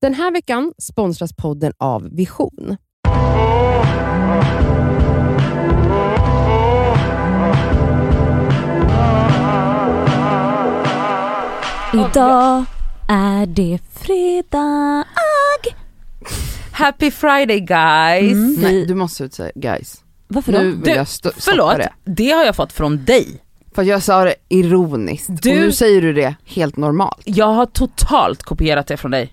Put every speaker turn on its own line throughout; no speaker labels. Den här veckan sponsras podden av Vision.
Idag är det fredag.
Happy Friday guys!
Nej, du måste säga guys.
Varför
Nu
då?
vill
Du,
jag sto- stoppa
Förlåt,
det.
det har jag fått från dig.
För jag sa det ironiskt och
Du-
nu säger du det helt normalt.
Jag har totalt kopierat det från dig.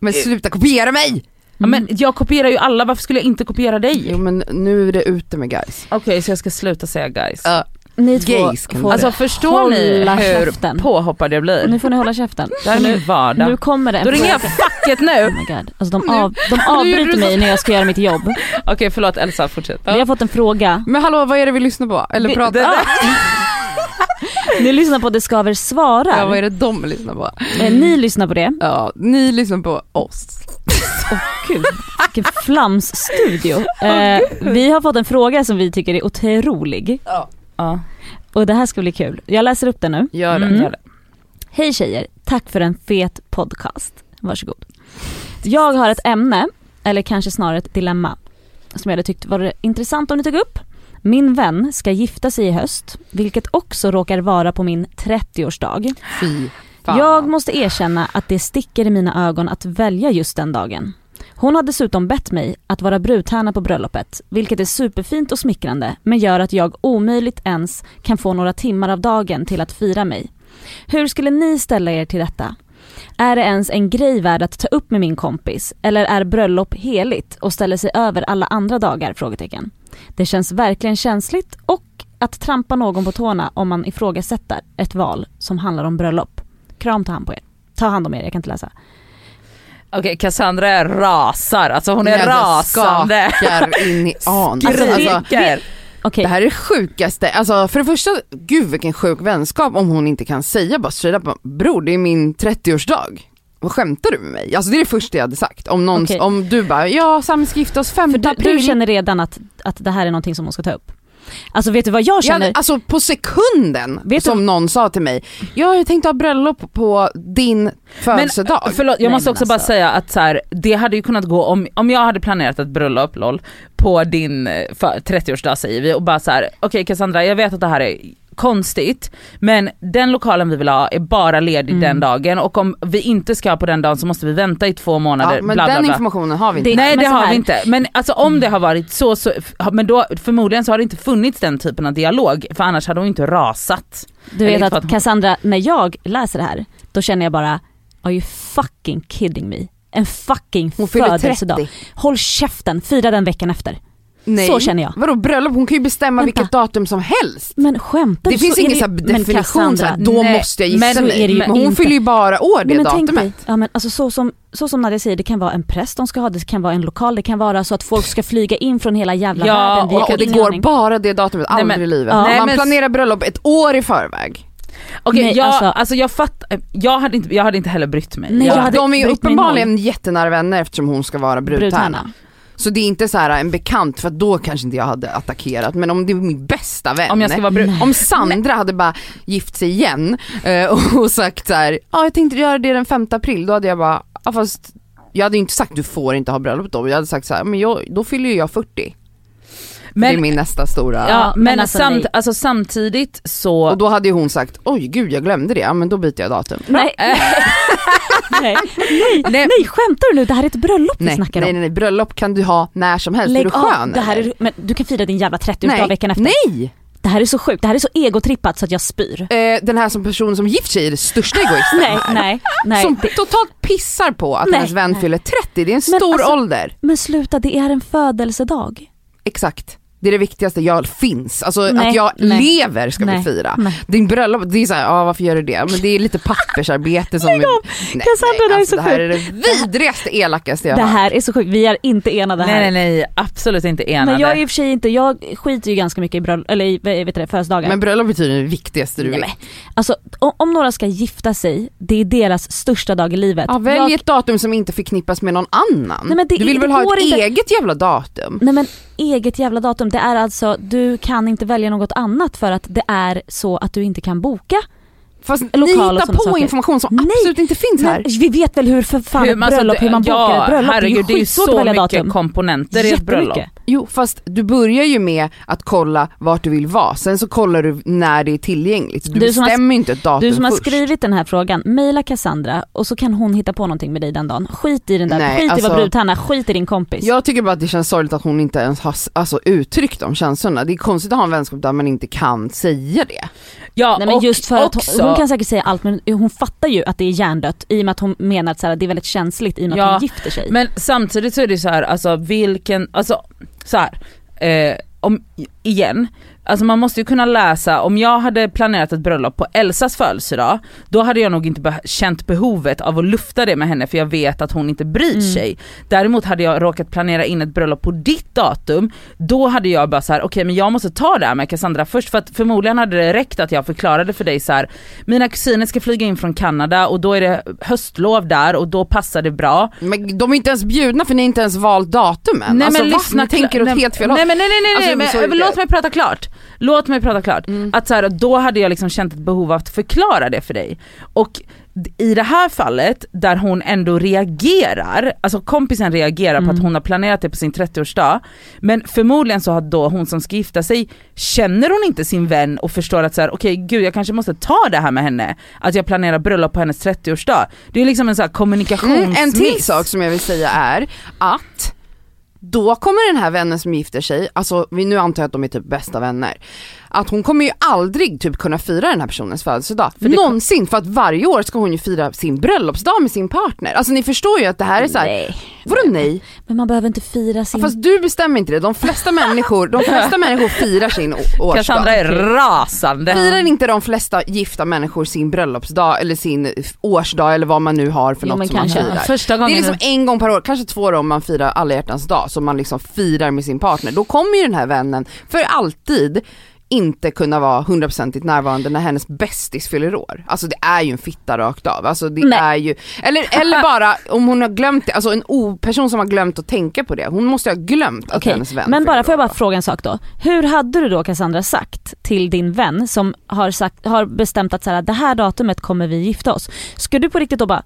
Men
Eh.
sluta kopiera mig!
Ja, men jag kopierar ju alla, varför skulle jag inte kopiera dig?
Jo men nu är det ute med guys.
Okej så jag ska sluta säga guys.
Ja.
Ni två
Gays kan
får,
Alltså förstår ni
Hålla
hur
käften.
påhoppad jag blir?
nu får ni hålla käften.
Det här är min
Nu
vardag.
kommer det en
Då ringer jag
fråga.
facket nu!
Oh my god. Alltså de, av, de avbryter mig när jag ska göra mitt jobb.
Okej förlåt Elsa, fortsätt.
Vi har fått en fråga.
Men hallå vad är det vi lyssnar på? Eller
Vi-
pratar
det-
om?
Ni lyssnar på Det Skaver svarar.
Ah! Ja, vad är det de lyssnar på?
Eh, Ni lyssnar på det.
Ja, ni lyssnar på oss.
Gud, vilken flamsstudio. Eh, vi har fått en fråga som vi tycker är otrolig.
Ja.
Och det här ska bli kul. Jag läser upp den nu.
Gör det.
Mm.
Gör det.
Hej tjejer, tack för en fet podcast. Varsågod. Jag har ett ämne, eller kanske snarare ett dilemma, som jag hade tyckt var intressant om ni tog upp. Min vän ska gifta sig i höst, vilket också råkar vara på min 30-årsdag.
Fy fan.
Jag måste erkänna att det sticker i mina ögon att välja just den dagen. Hon har dessutom bett mig att vara brudtärna på bröllopet, vilket är superfint och smickrande men gör att jag omöjligt ens kan få några timmar av dagen till att fira mig. Hur skulle ni ställa er till detta? Är det ens en grej värd att ta upp med min kompis eller är bröllop heligt och ställer sig över alla andra dagar? Frågetecken. Det känns verkligen känsligt och att trampa någon på tårna om man ifrågasätter ett val som handlar om bröllop. Kram, ta hand, på er. ta hand om er, jag kan inte läsa.
Okej Cassandra rasar, alltså hon är
Nej, alltså,
rasande.
Skakar in i an. Alltså, alltså,
Skriker.
Okej,
det här är det sjukaste. Alltså för det första, gud vilken sjuk vänskap om hon inte kan säga bara straight up, bror det är min 30-årsdag. Vad skämtar du med mig? Alltså det är det första jag hade sagt. Om, någon,
Okej.
om du bara, ja Sami ska gifta oss 5
för du,
april.
du känner redan att, att det här är någonting som hon ska ta upp. Alltså vet du vad jag
jag hade,
känner?
alltså på sekunden
Vet du-
som någon sa till mig, "Ja, jag tänkte ha bröllop på
äh,
din födelsedag.
Men, förlåt, jag
Nej,
måste
men
också bara
alltså.
säga att så här, det hade ju kunnat gå om, om jag hade planerat ett bröllop lol, på din eh, för- 30-årsdag säger vi och bara så här: okej Cassandra jag vet att det här är konstigt men den lokalen vi vill ha är bara ledig
Mm.
den dagen och om vi inte ska på den dagen så måste vi vänta i två månader.
ja, men
bla, bla,
den
bla.
informationen har vi inte.
Det-
Nej
Men
det
så
har
här-
vi inte. Men alltså om det har varit så, så f- ha- men då förmodligen så har det inte funnits den typen av dialog för annars hade hon inte rasat.
Du
Eller
vet
inte för att
att
hon-
Cassandra, när jag läser det här, då känner jag bara Are you fucking kidding me? En fucking
Hon fyller 30.
födelsedag. Håll käften, fira den veckan efter.
Nej.
Så känner jag.
Vadå bröllop? Hon kan ju bestämma
Vänta.
vilket datum som helst.
Men skämtar
Det
du?
finns
Så är
ingen
ju-
så här
Men
definition så
Cassandra,
här, då
nej,
måste jag gifta
men så
mig.
är det ju
Men hon
inte.
fyller ju bara år det
Nej, men tänk dig,
datumet.
ja, men alltså så, som, så som Nadia säger, det kan vara en präst de ska ha, det kan vara en lokal, det kan vara så att folk ska flyga in från hela jävla
Ja,
världen. Vi
Och,
har
och det
ingen
går
aning.
bara det datumet,
Nej,
aldrig
men-
i livet.
Ja.
Nej,
Man
men-
planerar bröllop ett år i förväg.
Okej
Nej,
jag,
alltså-
alltså, jag fattar, jag hade inte, jag hade inte heller brytt mig.
Nej,
jag,
jag hade-
De är ju
brytt mig
uppenbarligen jättenära vänner eftersom hon ska vara brudtärna. Så det är inte så här äh, en bekant för att då kanske inte jag hade attackerat men om det är min bästa vän.
Om jag ska vara brud.
om Sandra hade bara gift sig igen eh, och- och sagt så här, ja jag tänkte göra det den 5 april, då hade jag bara, ja fast jag hade ju inte sagt du får inte ha bröllop då, jag hade sagt så här, men jag, då fyller ju jag 40. det är
Men,
min nästa stora.
ja, men,
men alltså,
samt,
nej.
alltså samtidigt
Och
så,
då hade ju hon sagt, oj gud jag glömde det, ja men då byter jag datum.
Nej. nej, nej, Eh. nej, skämtar du nu? Det här är ett bröllop vi
Nej,
snackar
nej,
om.
nej, nej, bröllop kan du ha när som helst, är du
av,
skön
det här
eller?
är, men du kan fira din jävla 30-årsdag
Nej,
veckan efter.
nej!
Det här är så sjukt, det här är så egotrippat så att jag spyr.
Eh, den här som person som gift sig är den största egoisten
Nej,
här.
nej, nej.
Äh. Som
Det,
totalt pissar på att
Nej.
hennes vän fyller 30, det är en
Men
stor
alltså-
ålder.
men sluta, det är en födelsedag.
Exakt. Det är det viktigaste, jag finns. Alltså
Nej,
att jag
nej.
lever ska
Nej,
vi fira.
nej.
Din bröllop, det är såhär, ja varför gör du det? Men det är lite pappersarbete som... Lägg av! Nej, alltså,
Cassandra, det här är så
det här är
sjukt.
det vidrigaste, elakaste jag
Det
har hört.
här är så sjukt, vi är inte enade här.
nej nej nej absolut inte enade.
Men jag är i och för sig inte, jag skiter ju ganska mycket i bröll- eller i, vet du det, födelsedagar.
Men bröllop betyder det viktigaste du
Nej,
vet.
men, alltså om, om några ska gifta sig, det är deras största dag i livet.
Ja, välj
Jag-
ett datum som inte förknippas med någon annan.
Nej, men det-
du vill
det
väl ha
går
ett
inte.
eget jävla datum?
Nej men eget jävla datum, det är alltså, du kan inte välja något annat för att det är så att du inte kan boka.
Fast ni
lokal och
hittar
sådana
på
saker.
information som
Nej,
absolut inte finns här.
Men vi vet väl hur för fan
Hur
ett
man- alltså,
bröllop, hur man bokar ett bröllop.
Herregud, det är ju
skitsvårt
så
att välja
mycket
datum.
komponenter i ett bröllop.
Jättemycket.
Jo fast du börjar ju med att kolla vart du vill vara, sen så kollar du när det är tillgängligt. Du,
Du som har-
bestämmer ju inte ett datum
Du som har
först.
skrivit den här frågan, mejla Cassandra och så kan hon hitta på någonting med dig den dagen. Skit i den där,
Nej,
skit i
alltså-
vad brudtärna, skit i din kompis.
Jag tycker bara att det känns sorgligt att hon inte ens har s- alltså, uttryckt de känslorna. Det är konstigt att ha en vänskap där man inte kan säga det.
Ja,
Nej men
och
just för att
också,
hon, hon kan säkert säga allt men hon fattar ju att det är hjärndött i och med att hon menar att så här, det är väldigt känsligt i och med
Ja,
att hon gifter sig.
Men samtidigt så är det så här, alltså vilken, alltså så här, eh, om, igen, alltså man måste ju kunna läsa, om jag hade planerat ett bröllop på Elsas födelsedag, då hade jag nog inte beh- känt behovet av att lufta det med henne för jag vet att hon inte bryr
Mm.
sig. Däremot hade jag råkat planera in ett bröllop på ditt datum, då hade jag bara så här: okej men jag måste ta det här med Cassandra först för att förmodligen hade det räckt att jag förklarade för dig så här. mina kusiner ska flyga in från Kanada och då är det höstlov där och då passar det bra.
Men de är inte ens bjudna för ni har inte ens valt datum än.
Nej
alltså,
men
va?
lyssna,
ni tänker åt
nej,
helt fel håll.
nej, men nej nej nej,
Alltså, Mm.
nej
så
men,
är det.
låt mig prata klart. Låt mig prata klart. Att så här, då hade jag liksom känt ett behov av att förklara det för dig. Och d- i det här fallet där hon ändå reagerar, alltså kompisen reagerar
Mm.
på att hon har planerat det på sin 30-årsdag, men förmodligen så har då hon som ska gifta sig, känner hon inte sin vän och förstår att så här, okej gud jag kanske måste ta det här med henne, att jag planerar bröllop på hennes 30-årsdag. Det är liksom en så här
Mm,
kommunikationsmiss.
en till sak som jag vill säga är att då kommer den här vännen som gifter sig, alltså vi nu antar jag att de är typ bästa vänner, att hon kommer ju aldrig typ kunna fira den här personens födelsedag.
För det-
Någonsin, för att varje år ska hon ju fira sin bröllopsdag med sin partner. Alltså ni förstår ju att det här är såhär,
nej.
vadå nej?
Men man behöver inte fira sin...
Fast du bestämmer inte det, de flesta människor, de flesta människor firar sin å- årsdag.
Cassandra är rasande.
Firar inte de flesta gifta människor sin bröllopsdag eller sin f- årsdag eller vad man nu har för
Jo, men
något som
kanske.
man firar?
Första
Det
gången
är liksom en gång per år, kanske två år om man firar alla hjärtans dag som man liksom firar med sin partner. Då kommer ju den här vännen för alltid inte kunna vara hundraprocentigt närvarande när hennes bästis fyller år. Alltså det är ju en fitta rakt av. Alltså det
Nej.
är ju, eller, eller bara om hon har glömt det, alltså en o- person som har glömt att tänka på det, hon måste ju ha glömt att
Okej,
hennes vän
men bara
fyller
får jag
år
bara
då.
fråga en sak då. Hur hade du då Cassandra sagt till din vän som har, sagt, har bestämt att så här, det här datumet kommer vi gifta oss. Ska du på riktigt då bara,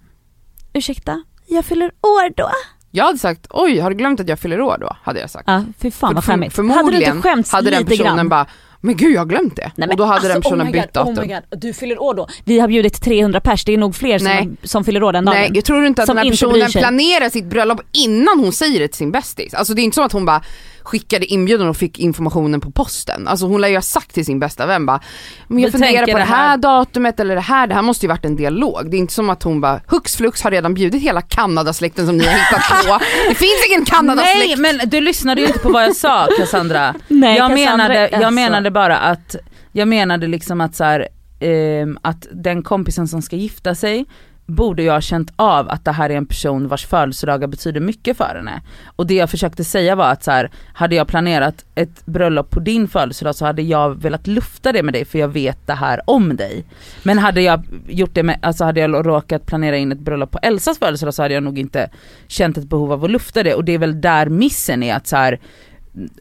ursäkta, jag fyller år då?
Jag hade sagt, oj har du glömt att jag fyller år då? Hade jag sagt.
Ja, fy fan vad
För-
skämmigt. Hade du
Förmodligen
inte skämts
hade den
lite
personen
grann?
bara, men gud jag har glömt det.
Nej, men
och då hade den
alltså,
personen
my
bytt
God,
datum.
my God. Du fyller år då. Vi har bjudit 300 pers, det är nog fler som,
Nej.
har, som fyller år den dagen.
Nej jag tror inte att
Som
den här
inte bryr
personen
sig.
planerar sitt bröllop innan hon säger det till sin bästis. Alltså det är inte som att hon bara skickade inbjudan och fick informationen på posten. Alltså hon lär ju ha sagt till sin bästa vän bara, men jag
Vi
funderar
tänker
på det
det
här,
här.
datumet eller det här, det här måste ju varit en dialog. Det är inte som att hon bara, hux flux har redan bjudit hela Kanadasläkten som ni har hittat på. Det finns ingen
Nej
Kanadasläkt!
men du lyssnade ju inte på vad jag sa Cassandra.
Nej,
jag,
Cassandra,
menade, jag
alltså.
menade bara att, jag menade liksom att så här, ehm, att den kompisen som ska gifta sig borde jag ha känt av att det här är en person vars födelsedagar betyder mycket för henne. Och det jag försökte säga var att så här, hade jag planerat ett bröllop på din födelsedag så hade jag velat lufta det med dig för jag vet det här om dig. Men hade jag gjort det med, alltså hade jag råkat planera in ett bröllop på Elsas födelsedag så hade jag nog inte känt ett behov av att lufta det och det är väl där missen är att så här,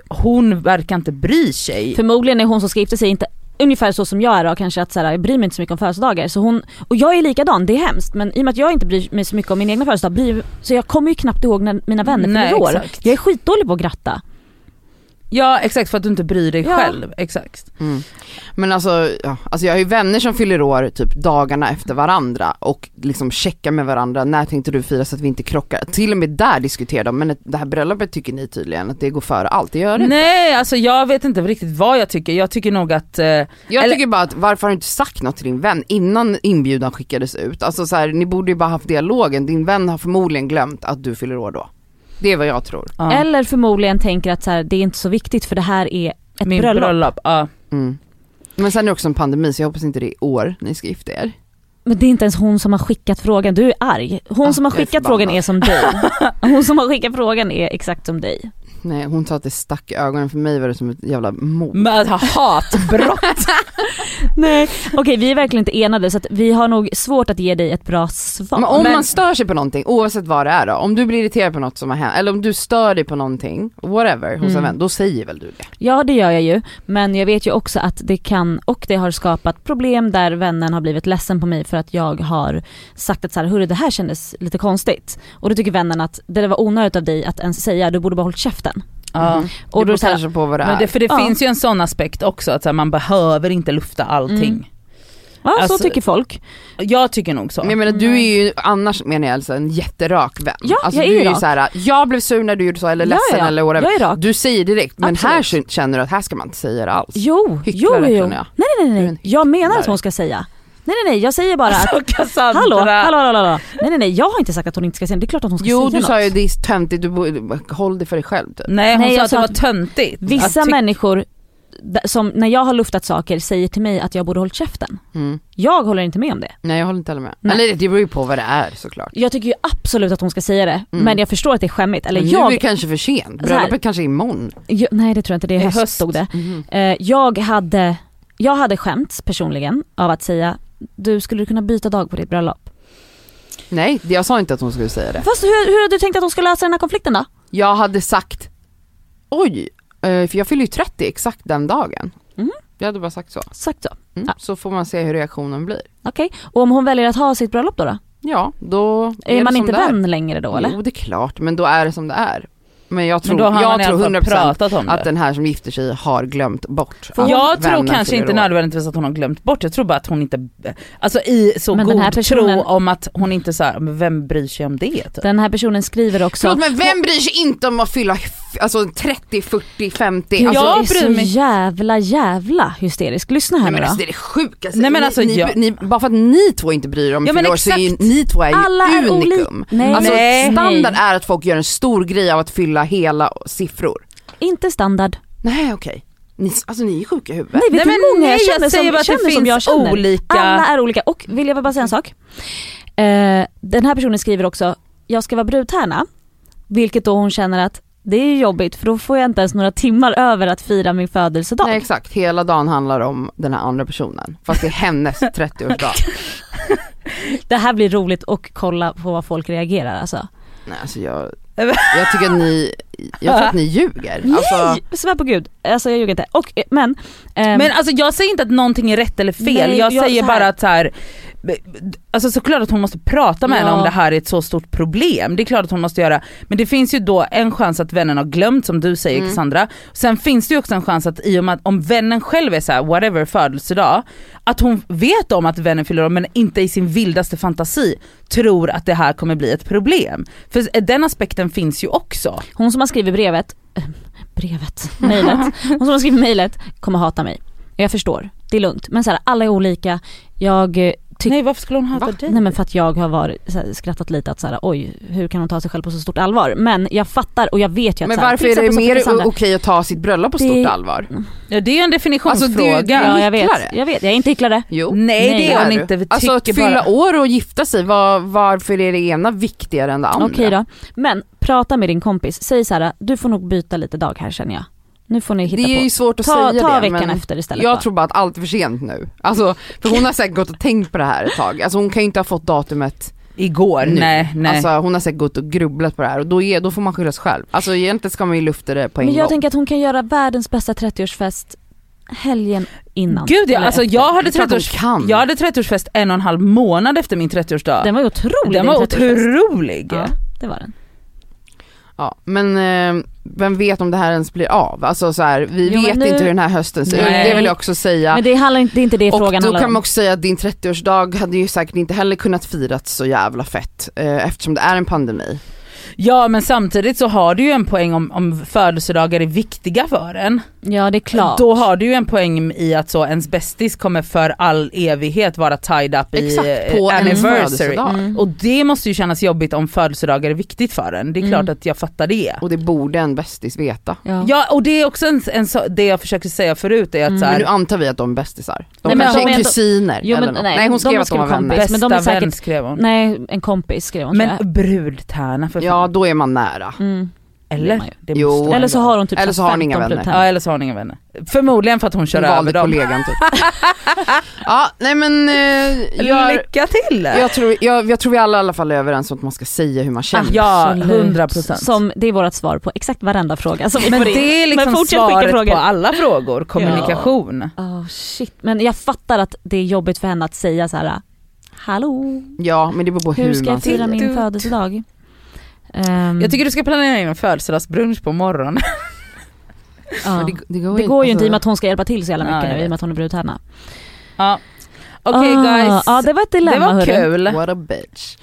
hon verkar inte bry sig.
Förmodligen är hon som ska gifta sig inte Ungefär så som jag är då kanske att så här, jag bryr mig inte så mycket om födelsedagar. Så hon, och jag är likadan, det är hemskt men i och med att jag inte bryr mig så mycket om min egna födelsedag blir, så jag kommer ju knappt ihåg när mina vänner
Nej,
fyller år.
exakt.
Jag är skitdålig på att gratta.
Ja exakt för att du inte bryr dig
Ja.
själv. Exakt.
Mm. Men alltså, ja, alltså jag har ju vänner som fyller år typ dagarna efter varandra och liksom checkar med varandra, när tänkte du fira så att vi inte krockar? Till och med där diskuterar de, men det här bröllopet tycker ni tydligen att det går före allt, det gör det inte.
Nej alltså jag vet inte riktigt vad jag tycker. Jag tycker nog att eh,
Jag
eller-
tycker bara att varför har du inte sagt något till din vän innan inbjudan skickades ut? Alltså så här, ni borde ju bara haft dialogen, din vän har förmodligen glömt att du fyller år då. Det är vad jag tror.
ja,
Eller förmodligen tänker att så här, det är inte så viktigt för det här är ett
min
bröllop.
bröllop. ja.
Mm. Men sen är det också en pandemi så jag hoppas inte det är i år ni ska gifta er.
Men det är inte ens hon som har skickat frågan, du är arg. Hon
Ah,
som har
jag är
skickat
förbannad.
frågan är som dig. Hon som har skickat frågan är exakt som dig.
Nej hon sa att det stack i ögonen, för mig var det som ett jävla mord.
Men att ha hatbrott.
Nej, okej vi är verkligen inte enade så att vi har nog svårt att ge dig ett bra svar.
Men om
men-
man stör sig på någonting, oavsett vad det är då, om du blir irriterad på något som har hänt, eller om du stör dig på någonting, whatever, hos en
Mm.
vän, då säger väl du det?
Ja det gör jag ju, men jag vet ju också att det kan och det har skapat problem där vännen har blivit ledsen på mig för att jag har sagt att så här, hörru det här kändes lite konstigt. Och då tycker vännen att det där var onödigt av dig att ens säga, du borde bara hållit käften.
Ja.
Och
Mm. det
då
beror
så här,
kanske på vad det är.
Men det, för det
Ja.
finns ju en sån aspekt också att så här, man behöver inte lufta allting.
Mm. ja så
alltså-
tycker folk.
Jag tycker nog så.
Men jag menar du är ju annars menar jag alltså en jätterak vän.
Mm. Ja,
alltså,
jag
du
är
ju
rak.
såhär, jag blev sur när du gjorde så eller
Ja,
ledsen
ja, ja.
eller whatever.
Jag är rak.
Du säger direkt, men här
Absolut.
kän- känner du att här ska man inte säga det alls.
Jo, jo,
Hycklare
jo.
känner
Nej
jag.
nej
Du
nej,
är en
nej. jag menar att
hycklare.
hon ska säga. Nej nej nej, jag säger bara att
Så Cassandra.
Hallå, hallå, hallå, hallå. Nej nej nej, jag har inte sagt att hon inte ska säga det. Det är klart att hon ska
Jo
säga
du
något.
sa ju det är töntigt, du borde, håll det för dig själv typ.
Nej hon
Nej,
sa
jag
att det
sa
var
att
töntigt.
Vissa
att ty-
människor d- som när jag har luftat saker säger till mig att jag borde hållit käften.
Mm.
Jag håller inte med om det.
Nej jag håller inte heller med.
Nej.
Eller det beror ju på vad det är såklart.
Jag tycker ju absolut att hon ska säga det,
Mm.
men jag förstår att det är skämmigt. Eller
men
jag,
nu är det kanske för sent,
Så här.
bröllopet kanske är imorgon.
jag, nej det tror jag inte, det är
Det är
höst,
höst.
stod det. Eh, jag, hade, jag hade skämts personligen av att säga, du skulle kunna byta dag på ditt bröllop.
Nej jag sa inte att hon skulle säga det.
Fast hur, hur har du tänkt att hon ska lösa den här konflikten då?
Jag hade sagt, oj, eh, för jag fyller ju 30 exakt den dagen.
Mhm.
Jag hade bara sagt så.
Sagt så.
Mm.
Ja.
Så får man se hur reaktionen blir.
Okej, och om hon väljer att ha sitt bröllop då? då?
Ja, då
Är,
det
man
som
inte
det är.
vän längre då eller?
Jo det är klart, men då är det som det är. Men jag tror,
Men då har man
jag
i
tror
alla fall
100%
pratat om det.
att den här som gifter sig har glömt bort
För
att
jag
vännen
tror kanske
fyller
inte
år.
nödvändigtvis att hon har glömt bort, jag tror bara att hon inte, alltså i så
Men den
god
här personen-
tro om att hon inte så här, men vem bryr sig om det? Typ.
Den här personen skriver också
Förlåt men vem bryr sig inte om att fylla f- alltså 30 40 50?
Gud,
Alltså,
Ja,
jag är
bryr
så
mig.
jävla jävla hysterisk. Lyssna här
nej,
nu
men alltså, det
då.
är det sjukaste.
Nej, men
Ni-
alltså,
ni,
jag-
ni, bara för att ni två inte bryr er om
Ja,
ja,
men
år så är ju,
exakt.
ni två är ju
Alla är
unikum.
olika. Nej,
Alltså
Nej.
standard är att folk gör en stor grej av att fylla hela siffror.
inte standard.
Nej okej. Ni, alltså ni är sjuka i huvudet.
Nej vet
Nej,
du
men
hur många
nej,
jag
jag
känner
säger
som,
bara att det
känner som
finns
jag känner?
olika-
Alla är olika och vill jag bara säga en sak. Eh, den här personen skriver också, jag ska vara brudtärna. Vilket då hon känner att det är ju jobbigt för då får jag inte ens några timmar över att fira min födelsedag.
Nej exakt, hela dagen handlar om den här andra personen. Fast det är hennes 30-årsdag.
Det här blir roligt och kolla på vad folk reagerar alltså.
Nej alltså jag, jag tycker att ni, jag tror att ni ljuger. Alltså,
Nej! Svär på gud, alltså jag ljuger inte. Och, eh, men, ehm,
Men alltså jag säger inte att någonting är rätt eller fel,
Nej,
jag,
jag-
säger
så här-
bara att så här, alltså såklart att hon måste prata med
Ja.
henne om det här är ett så stort problem, det är klart att hon måste göra, men det finns ju då en chans att vännen har glömt som du säger
Mm.
Cassandra, sen finns det ju också en chans att i och med att om vännen själv är så här, whatever födelsedag, att hon vet om att vännen fyller år men inte i sin vildaste fantasi tror att det här kommer bli ett problem. För den aspekten finns ju också.
Hon som har skrivit brevet, eh, brevet, mejlet, hon som har skrivit mejlet kommer hata mig. Jag förstår, det är lugnt. Men så här, alla är olika. Jag eh, tycker,
Nej varför skulle hon hata
Va?
dig?
nej men för att jag har varit, så här, skrattat lite att så här, oj hur kan hon ta sig själv på så stort allvar? Men jag fattar och jag vet ju att
men
så här,
varför
till
är det
exempel som för
mer
Cassandra-
o- okej att ta sitt bröllop på
Det-
stort allvar?
Ja, det är ju en definitionsfråga.
Alltså, det är ju-
Ja jag vet,
Hycklare?
jag vet, jag är inte hycklare.
Jo.
Nej,
Nej,
det
det
är
är
hon
du.
inte. Vi
Alltså att
tycker
fylla
bara...
år och gifta sig, var, varför är det ena viktigare än det andra?
Okej då. Men prata med din kompis, säg så här, du får nog byta lite dag här känner jag. Nu får ni hitta
Det är
på.
ju svårt att
ta
säga
ta
det
veckan
men
efter istället
jag
bara.
tror bara att allt är för sent nu. Alltså, för hon har säkert gått och tänkt på det här ett tag. Alltså hon kan ju inte ha fått datumet
Igår?
Nu.
Nej, nej.
Alltså hon har säkert gått och grubblat på det här och då, är, då får man skylla sig själv. Alltså egentligen ska man ju lufta det på en
Men jag
gång.
tänker att hon kan göra världens bästa 30-årsfest helgen innan.
Gud ja,
Eller
alltså
efter.
jag hade,
Det är klart
30
hon
års,
kan.
jag hade 30-årsfest en och en halv månad efter min 30-årsdag.
Den var ju otrolig. din
Den var
30-årsfest.
otrolig.
Ja, det var den.
Ja, men eh, vem vet om det här ens blir av? Alltså så här, vi
Jo, men
vet
nu-
inte hur den här hösten ser ut,
Nej.
det vill jag också säga.
Men det, handlar inte, det är inte det
och
frågan
då
handlar
kan
om.
man också säga att din 30-årsdag hade ju säkert inte heller kunnat firats så jävla fett eh, eftersom det är en pandemi.
Ja men samtidigt så har du ju en poäng om, om födelsedagar är viktiga för en.
Ja det är klart.
Då har du ju en poäng i att så ens bästis kommer för all evighet vara tied up i
Exakt,
eh,
på en
anniversary.
födelsedag.
Mm.
Och det måste ju kännas jobbigt om födelsedagar är viktigt för en. Det är
Mm.
klart att jag fattar det.
Och det borde en bästis veta.
Ja.
Ja och det är också en, en, så- det jag försöker säga förut är att
Mm.
så
Men
här,
nu antar vi att de är bästisar. De
Nej, men
kanske
de
är
är ändå-
kusiner
Jo,
eller
men
något.
nej,
nej hon
de
skrev att de
skrev
var vänner.
kompis. men de är
bästa
säkert-
vän skrev hon.
Nej en kompis skrev hon tror
Men brudtärna för
Ja då är man nära.
jag. Mm. blir
Eller?
man ju.
Det
Jo.
måste man
Eller så
ju
har hon typ
Eller så har hon
15
inga vänner.
Ja
brudtärningar.
eller så har hon inga vänner. Förmodligen för att hon kör
Hon
över
valde
dem.
kollegan typ. ja, nej men eh, jag,
Lycka till!
jag, tror, jag, jag tror vi alla i alla fall är överens om att man ska säga hur man känner.
Ja,
Absolut.
100%.
Som, det är vårt svar på exakt varenda fråga som vi
Men
får in.
det är liksom
Men fortsätt skicka
svaret
frågor.
på alla frågor, kommunikation.
Oh, shit. Men jag fattar att det är jobbigt för henne att säga så här. Hallå,
Ja, men det beror på hur,
hur ska
man
jag
säger.
fira min födelsedag? Ehm,
Jag tycker du ska planera in en födelsedagsbrunch på morgonen.
ja.
Men det går,
Det går ju inte i och med
alltså-
att hon ska hjälpa till så jävla
Ja,
mycket nu i
jag
och
vet.
med att hon är brudtärna.
Ja. Okej
Ah,
guys,
Ja det var ett dilemma
det var
hörru.
kul.
What a bitch.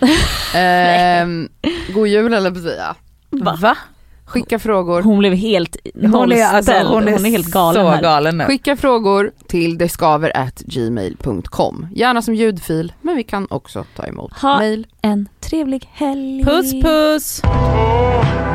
Ehm, god jul eller på att säga.
Va?
Va?
Skicka frågor.
Hon blev helt nollställd. Hon är, helt galen
alltså, så
här.
galen nu.
Skicka frågor till detskaver@gmail.com. Gärna som ljudfil, men vi kan också ta emot
Ha
mail.
en trevlig helg.
Puss puss!
Oh,